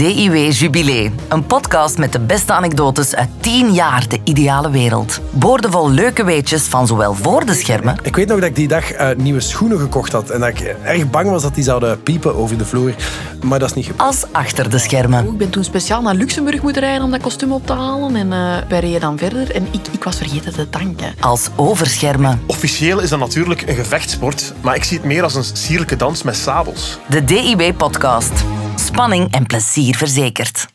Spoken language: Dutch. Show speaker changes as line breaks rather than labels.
DIW Jubilee. Een podcast met de beste anekdotes uit 10 jaar de ideale wereld. Boordevol leuke weetjes van zowel voor de schermen
Ik weet nog dat ik die dag eh, nieuwe schoenen gekocht had en dat ik erg bang was dat die zouden piepen over de vloer. Maar dat is niet gebeurd.
als achter de schermen.
Oh, Ik ben toen speciaal naar Luxemburg moeten rijden om dat kostuum op te halen. En eh, wij reden dan verder. En ik, ik was vergeten te tanken.
Als overschermen.
Officieel is dat natuurlijk een gevechtsport, maar ik zie het meer als een sierlijke dans met sabels.
De DIW podcast. Spanning en plezier verzekerd.